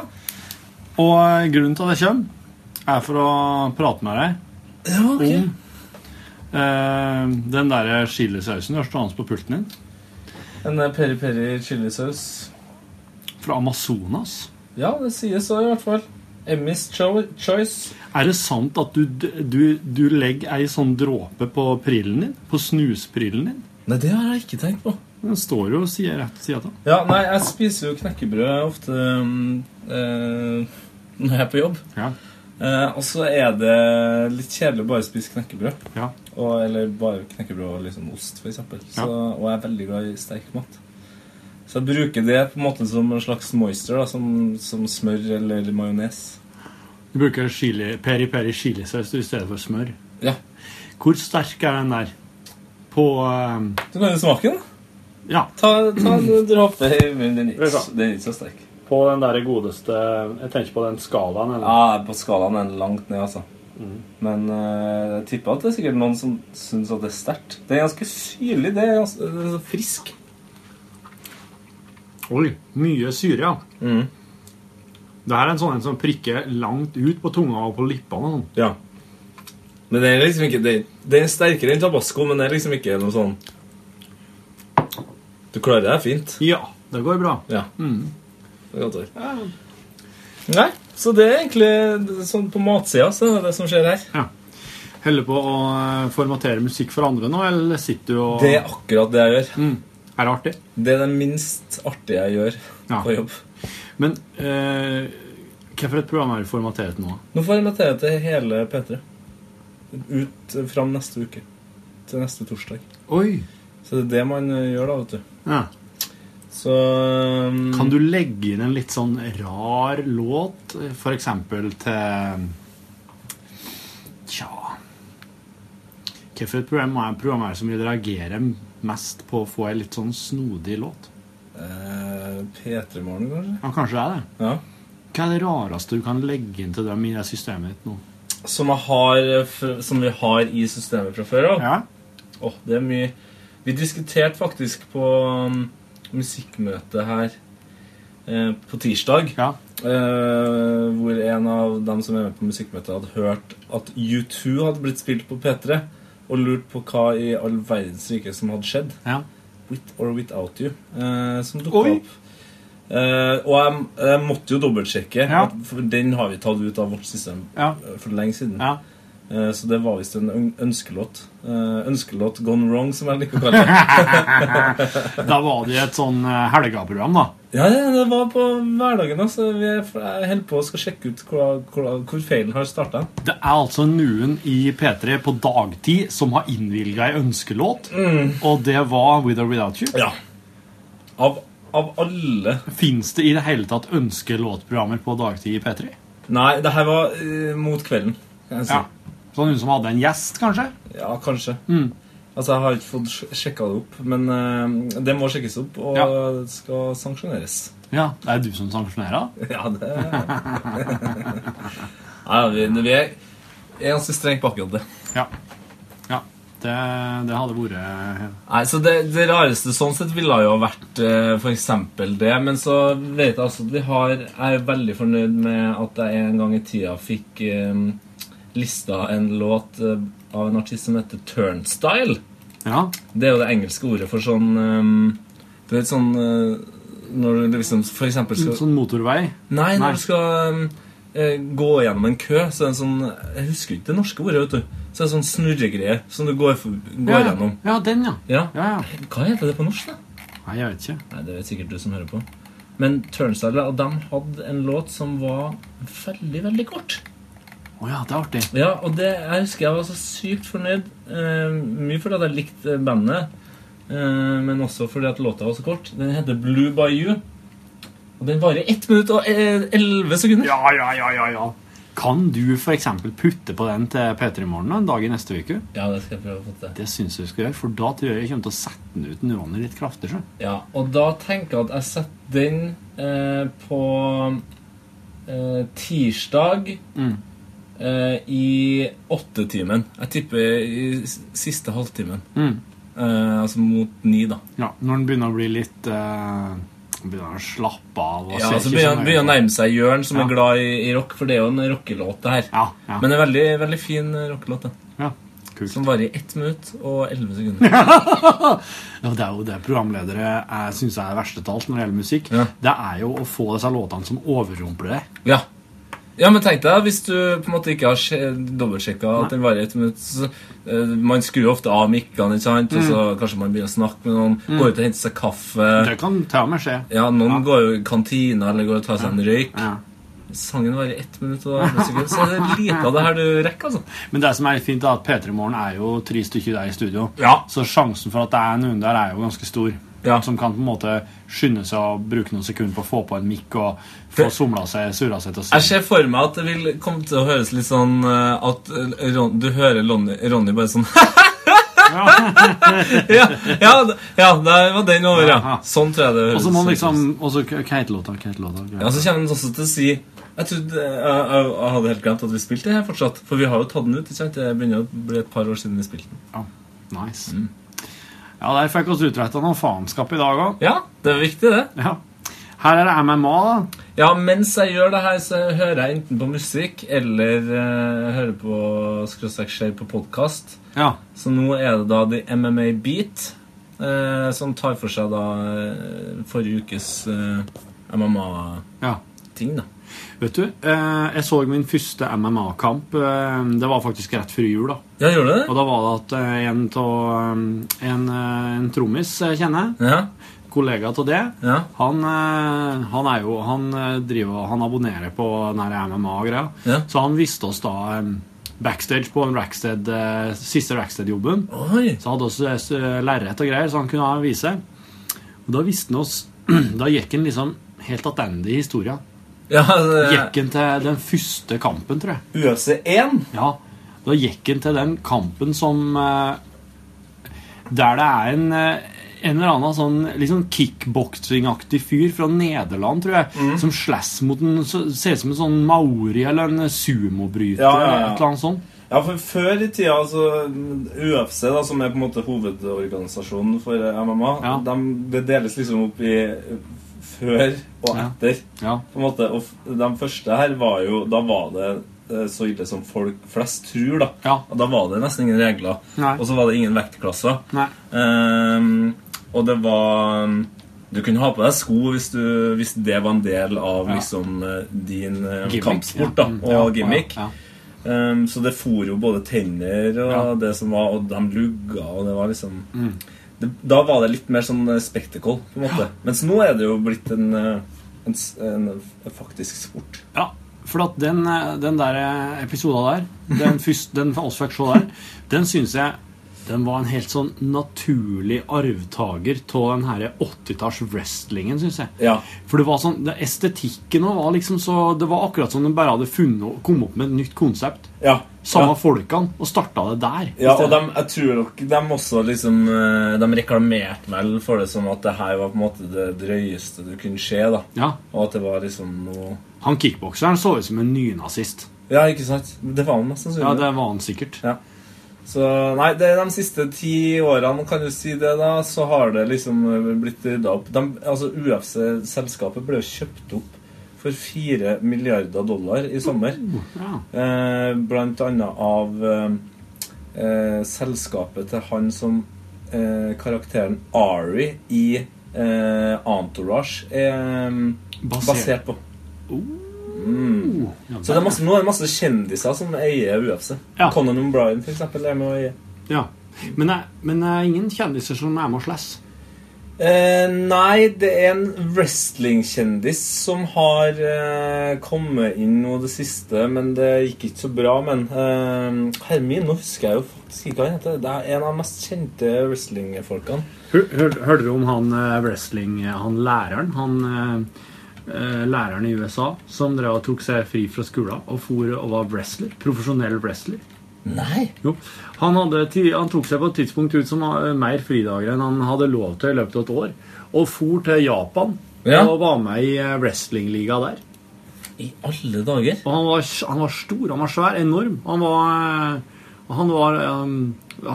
E: Og eh, grunnen til at jeg kommer, er for å prate med deg om eh, den der chilisausen du har stående på pulten din.
F: En eh, peri peri chilisaus.
E: Fra Amazonas.
F: Ja, det sies så i hvert fall. Emmys cho choice.
E: Er det sant at du, du, du legger ei sånn dråpe på prillen din? På snuspryllen din?
F: Nei, det har jeg ikke tenkt på.
E: Den står jo og sier rett side av.
F: Ja, nei, jeg spiser jo knekkebrød ofte mm, eh, når jeg er på jobb.
E: Ja.
F: Eh, og så er det litt kjedelig å bare spise knekkebrød.
E: Ja.
F: Og, eller bare knekkebrød og liksom ost, f.eks.
E: Ja.
F: Så, Og jeg er veldig glad i sterk mat. Så jeg bruker det på en måte som en slags moister, da, som, som smør eller majones.
E: Du bruker chili, peri peri chilisaus i stedet for smør.
F: Ja.
E: Hvor sterk er den der? På eh,
F: Du kan jo smake den.
E: Ja.
F: Ta, ta en dråpe i munnen. Den er ikke så-
E: Vet
F: den er ikke så sterk.
E: På den der godeste Jeg tenker på den skalaen. Eller?
F: Ja, På skalaen er den langt ned, altså. Men eh, jeg tipper at det er sikkert noen som syns at det er sterkt. Det er ganske syrlig. Det er, ganske, det er så frisk.
E: Oi, mye syre, ja.
F: Mhm.
E: Det her er en sånn en som prikker langt ut på tunga og på lippene. og Sånn.
F: Ja. Men det er liksom ikke det, det er sterkere enn tabasco, men det er liksom ikke noe sånn Du klarer deg fint.
E: Ja, det går bra.
F: Ja. Det er godt ord.
E: Ja.
F: Nei, så det er egentlig sånn på matsida så er det det som skjer her.
E: Holder på å eh, formatere musikk for andre nå, eller sitter du og Mm.
F: Det er akkurat det jeg gjør.
E: Er det artig?
F: Det er det minst artige jeg gjør
E: Ja.
F: på jobb.
E: Men eh, hva for et program er det formatert nå?
F: Nå får jeg inviterer til hele P3. Ut eh, fram neste uke. Til neste torsdag.
E: Oi!
F: Så det er det man eh, gjør, da, vet du.
E: Ja.
F: Så um,
E: Kan du legge inn en litt sånn rar låt, f.eks. til Tja Hvilket program er program er det som vil reagere mest på å få ei litt sånn snodig låt?
F: eh, P3 Morgen, kanskje?
E: Ja, kanskje det er det.
F: Ja.
E: Hva er det rareste du kan legge inn til dem i det systemet ditt nå?
F: Som, jeg har, eh, f- som vi har i systemet fra før av.
E: Ja?
F: Åh, det er mye Vi diskuterte faktisk på um, musikkmøtet her eh, på tirsdag
E: Ja.
F: Eh, hvor en av dem som er med på musikkmøtet, hadde hørt at U2 hadde blitt spilt på P3, og lurt på hva i all verdens rike som hadde skjedd.
E: Ja.
F: With or Without You, eh, som dukka
E: Oi.
F: opp. Eh, og jeg, jeg måtte jo dobbeltsjekke,
E: Ja.
F: at- for den har vi tatt ut av vårt system
E: Ja.
F: eh, for lenge siden.
E: ja.
F: Eh, Så det var visst en øn- ønskelåt. Eh, Ønskelåt gone wrong, som jeg liker å kalle det.
E: Da var det et sånn eh, helgeprogram, da.
F: Ja, ja, det var på hverdagen. altså. Vi er, jeg holder på å skal sjekke ut hvor, hvor, hvor feilen har starta.
E: Det er altså noen i P3 på dagtid som har innvilga ei ønskelåt, og det var With or Without You.
F: Ja. Av, av alle
E: Fins det i det hele tatt ønskelåtprogrammer på dagtid i P3?
F: Nei, det her var eh, mot kvelden. Kan jeg si.
E: Ja. Sånn hun som hadde en gjest, kanskje?
F: Ja, kanskje.
E: Mm.
F: Altså, Jeg har ikke fått sj- sjekka det opp, men eh, det må sjekkes opp og
E: Ja.
F: skal sanksjoneres.
E: Ja, Det er du som sanksjonerer?
F: Ja, det Nei, vi, vi er er ganske strenge på akkurat det.
E: Ja. ja. Det, det hadde vært eh,
F: Nei, så det, det rareste sånn sett ville jo ha vært eh, for eksempel det, men så vet jeg altså at vi har Jeg er veldig fornøyd med at jeg en gang i tida fikk eh, lista en låt eh, av en artist som heter Turnstyle.
E: Ja.
F: Det er jo det engelske ordet for sånn ehm, Du vet sånn eh, Når du liksom for eksempel skal
E: Sånn motorvei.
F: Nei,
E: Nei.
F: når du skal um, eh, gå gjennom en kø, så er det en sånn Jeg husker ikke det norske ordet, vet du. Så er det sånn snurregreie som du går, for, går
E: Ja,
F: gjennom.
E: ja, den, ja.
F: Ja.
E: Ja, ja.
F: Hva heter det på norsk, da?
E: Nei, jeg vet ikke.
F: Nei, Det vet sikkert du som hører på. Men Turnstyle og dem hadde en låt som var veldig, veldig kort.
E: Å ja, det er artig.
F: Ja, og det, jeg husker jeg var så sykt fornøyd. eh, mye fordi at jeg likte bandet, eh, men også fordi at låta var så kort. Den heter Blue by You. Og den varer 1 minutt og eh, 11 sekunder.
E: Ja, ja, ja, ja, ja. Kan du f.eks. putte på den til P3 Morgen en dag i neste uke?
F: ja, det skal jeg prøve å få til.
E: Det syns jeg du skal gjøre, for da tror jeg jeg kommer til å sette den ut nivåene litt kraftig. sjø.
F: Ja, og da tenker jeg at jeg setter den eh, på eh, tirsdag
E: Mm.
F: eh, i åttetimen. Jeg tipper i s- siste halvtimen.
E: Mm.
F: Eh, altså mot ni, da.
E: Ja, når den begynner å bli litt eh, Begynner å slappe av. og
F: Ja, så
E: se ikke
F: begynner
E: så nøye
F: begynner å
E: på.
F: nærme seg Jørn, som
E: Ja.
F: er glad i, i rock, for det er jo en rockelåt, det her.
E: Ja, ja,
F: Men det er veldig, veldig fin eh, rockelåt, det.
E: ja. Kult.
F: Som varer i 1 minutt og 11 sekunder.
E: Ja, det er jo det programledere eh, jeg syns er verste talt når det gjelder musikk.
F: Ja.
E: Det er jo å få disse låtene som overrumpler deg.
F: Ja. Ja, men tenk deg hvis du på en måte ikke har sje- dobbeltsjekka at den varer et minutt så, eh, Man skrur ofte av mikkene, ikke sant? og så
E: Mm.
F: kanskje man begynner å snakke med noen. Går ut og henter seg kaffe.
E: Det kan til og med skje.
F: Ja, Noen går jo i kantina eller går og tar seg en røyk.
E: Ja.
F: Sangen varer ett minutt og 11 sekunder, så det er lite av det her du rekker. altså.
E: Men det som er fint, er at P3 Morgen er jo tre stykker der i studio.
F: Ja.
E: Så sjansen for at det er noen der, er jo ganske stor.
F: Ja.
E: Som kan på en måte skynde seg å bruke noen sekunder på å få på en mikk og få
F: Det-
E: somla seg, surra seg til å
F: Jeg
E: synge.
F: ser for meg at det vil komme til å høres litt sånn eh, at eh, Ron, du hører Lonny, Ronny bare sånn ja, ja, d- ja, der var den over, ja.
E: Aha.
F: Sånn tror jeg det høres
E: Og så må han
F: ut.
E: liksom og så- Hva heter låta? Hva heter låta?
F: Ja, så kommer den også til å si jeg, trodde, jeg, jeg, jeg hadde helt glemt at vi spilte det her fortsatt. For vi har jo tatt den ut. ikke sant? Det begynner å bli et par år siden vi spilte den.
E: Nice.
F: Mm.
E: Ja, der fikk oss utretta noe faenskap i dag òg.
F: Ja, det er viktig, det.
E: Ja. Her er det MMA, da.
F: Ja, mens jeg gjør det her, så hører jeg enten på musikk eller eh, hører på Skråstrek skjer på podkast.
E: Ja.
F: Så nå er det da The MMA Beat eh, som tar for seg da eh, forrige ukes eh, MMA-ting,
E: ja.
F: da.
E: Vet du, eh, jeg så min første MMA-kamp. Eh, det var faktisk rett før jul, da.
F: Ja, gjør du det?
E: Og da var det at eh, en, av, eh, en, eh, en trommis jeg kjenner,
F: Ja.
E: kollega av det,
F: Ja.
E: han, eh, han er jo Han eh, driver Han abonnerer på den her MMA-greia.
F: Ja.
E: Så han viste oss da eh, backstage på en Rackstead, eh, siste Rackstead-jobben.
F: Oi!
E: Så hadde vi også eh, lerret og greier, så han kunne ha vise. Og da visste han oss Da gikk han liksom helt attende i historia.
F: Ja, eh,
E: Gikk han til den første kampen, tror jeg.
F: UFC1.
E: Ja, da gikk han til den kampen som eh, Der det er en eh, en eller annen sånn liksom kickboksingaktig fyr fra Nederland, tror jeg,
F: Mm.
E: som slåss mot en så- Ser ut som en sånn maori eller en sumobryter
F: Ja, ja, ja.
E: eller et eller annet sånt.
F: Ja, for før i tida, altså UFC, da, som er på en måte hovedorganisasjonen for eh, MMA,
E: Ja.
F: dem- det deles liksom opp i før og
E: Ja.
F: etter.
E: Ja.
F: På en måte, og f- De første her var jo Da var det eh, så ille som folk flest tror, da.
E: Ja.
F: Og Da var det nesten ingen regler.
E: Nei.
F: Og så var det ingen vektklasser.
E: Nei.
F: Ehm, og det var Du kunne ha på deg sko hvis, du, hvis det var en del av
E: Ja.
F: liksom eh, din eh,
E: Gimmick, Mm,
F: kampsport da, og
E: ja,
F: gimmick.
E: ja.
F: Ehm, så det for jo både tenner og det som var, og de lugga, og det var liksom
E: Mm.
F: det, Da var det litt mer sånn eh, spectacle, på en måte. Mens nå er det jo blitt en, eh, en, s- en, en faktisk sport.
E: Ja, for at den, eh, den der eh, episoden der, den, første, den vi fikk se der, den syns jeg den var en helt sånn naturlig arvtaker av den her 80-talls-wrestlingen, syns jeg.
F: Ja.
E: For det var sånn, det, estetikken og var liksom så Det var akkurat som den bare hadde funnet, kommet opp med et nytt konsept.
F: Ja. ja.
E: Samme folkene, og starta det der.
F: Ja,
E: i stedet.
F: og de, jeg tror nok de også liksom eh, De reklamerte vel for det som at det her var på en måte det drøyeste du kunne se, da.
E: ja,
F: Og at det var liksom noe
E: Han kickbokseren så ut som en nynazist.
F: Ja, ikke sant? Det var han mest sannsynlig.
E: Ja, det var han sikkert.
F: Så nei, det er de siste ti årene, kan du si det, da, så har det liksom eh, blitt rydda opp. De, altså, UFC-selskapet ble jo kjøpt opp for fire milliarder dollar i sommer.
E: Ja.
F: Eh, blant annet av eh, eh, selskapet til han som eh, karakteren Ari i eh, Entourage er eh,
E: Basert.
F: basert på. Mm.
E: Ja,
F: Så det er masse, nå er det masse kjendiser som eier UFC.
E: Ja.
F: Conan O'Brien for eksempel, er med å eie.
E: Ja. Men det er- men det er ingen kjendiser som er med og slåss.
F: Eh, nei, det er en wrestlingkjendis som har eh, kommet inn nå det siste, men det gikk ikke så bra. Men eh, Hermin, nå husker jeg jo faktisk ikke hva han heter. Det er en av de mest kjente wrestlingfolkene.
E: Hør- hør- Hørte du om han eh, wrestling... eh, Han læreren? Han eh, eh, læreren i USA som drev og tok seg fri fra skolen og for og var wrestler? Profesjonell wrestler.
F: Nei!
E: Jo. Han, hadde, ti- han tok seg på et tidspunkt ut som eh, mer fridager enn han hadde lov til i løpet av et år. Og for til Japan
F: Ja.
E: og var med i eh, wrestlingliga der.
F: I alle dager!
E: Og han var, han var stor, han var svær, enorm. Han var, han, var eh,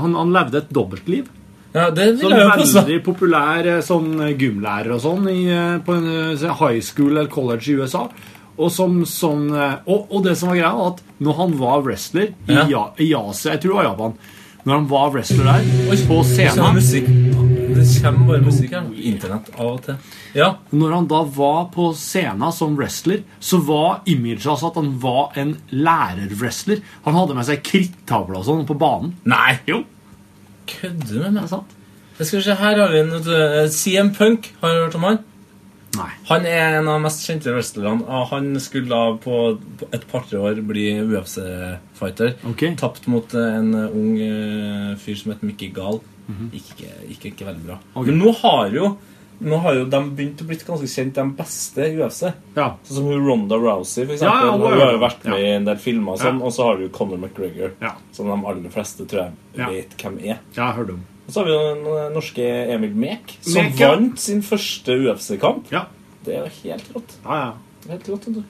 E: han, han levde et dobbeltliv.
F: Ja, altså. det
E: Sånn
F: vil jeg jo påstå.
E: veldig populær eh, sånn eh, gymlærer og sånn i, eh, på en eh, se, high school eller college i USA. Og, som, sånn, eh, og, og det som var greia, var at når han var wrestler i,
F: Ja.
E: ja. i Asia Jeg tror det var Japan. Når han var wrestler der, på
F: Sånn
E: scenen
F: musikk. Det kommer bare musikk her. Internett av og til. Ja.
E: Når han da var på scenen som wrestler, så var imaget altså at han var en lærer-wrestler. Han hadde med seg krittavle og sånn på banen.
F: Nei!
E: Jo,
F: Kødder du med
E: det
F: meg?
E: er sant.
F: Jeg skal se, her har vi en eh, CM Punk. Har du hørt om han?
E: Nei.
F: Han er en av de mest kjente wrestlerne. og Han skulle da på på et par-tre år bli UFC-fighter.
E: Ok.
F: Tapt mot eh, en eh, ung eh, fyr som heter Mickey Gall. Gikk ikke, gikk ikke veldig bra.
E: Mhm. Ok.
F: Men nå har jo nå har jo de begynt å blitt ganske kjent, de beste i UFC.
E: Ja.
F: Sånn som hun Ronda Rousey, for
E: Ja,
F: eksempel.
E: ja,
F: hun,
E: hun har jo-
F: har jo vært med
E: ja.
F: i en del filmer, og sånn,
E: Ja.
F: og så har du jo Conor McGregor,
E: Ja.
F: som de aller fleste tror jeg
E: Ja.
F: vet hvem er.
E: Jeg hørte om
F: Og så har vi jo den eh, norske Emil Mek, som
E: Mek, ja.
F: vant sin første UFC-kamp.
E: Ja.
F: Det er jo helt rått.
E: Ja, ja.
F: Helt rått, vet du.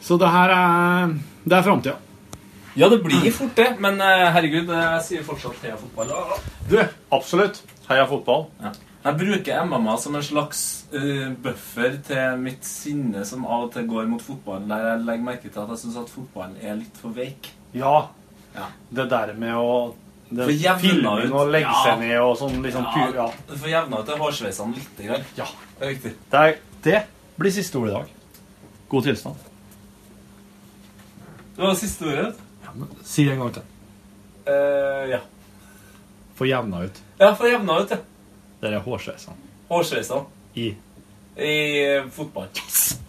E: Så det her er, det er framtida.
F: Ja, det blir fort det, men eh, herregud, jeg sier fortsatt heia fotball. da.
E: Du, absolutt. Heia fotball.
F: Jeg bruker MMA som en slags eh, buffer til mitt sinne som av og til går mot fotballen, der jeg legger merke til at jeg syns at fotballen er litt for veik.
E: Ja.
F: Ja.
E: Det der med å det,
F: For jevna
E: Filming
F: ut.
E: og legge
F: Ja.
E: seg ned og sånn liksom pur, ja.
F: Du får jevna ut de hårsveisene lite grann.
E: Ja.
F: Det er viktig.
E: Det, er, det blir siste ord i dag. God tilstand.
F: Det var siste ordet.
E: Si det en gang til.
F: Eh, ja.
E: Få jevna ut
F: ja, få jevna ut, ja.
E: de hårsveisene
F: Hårsveisene
E: i
F: i eh, fotball.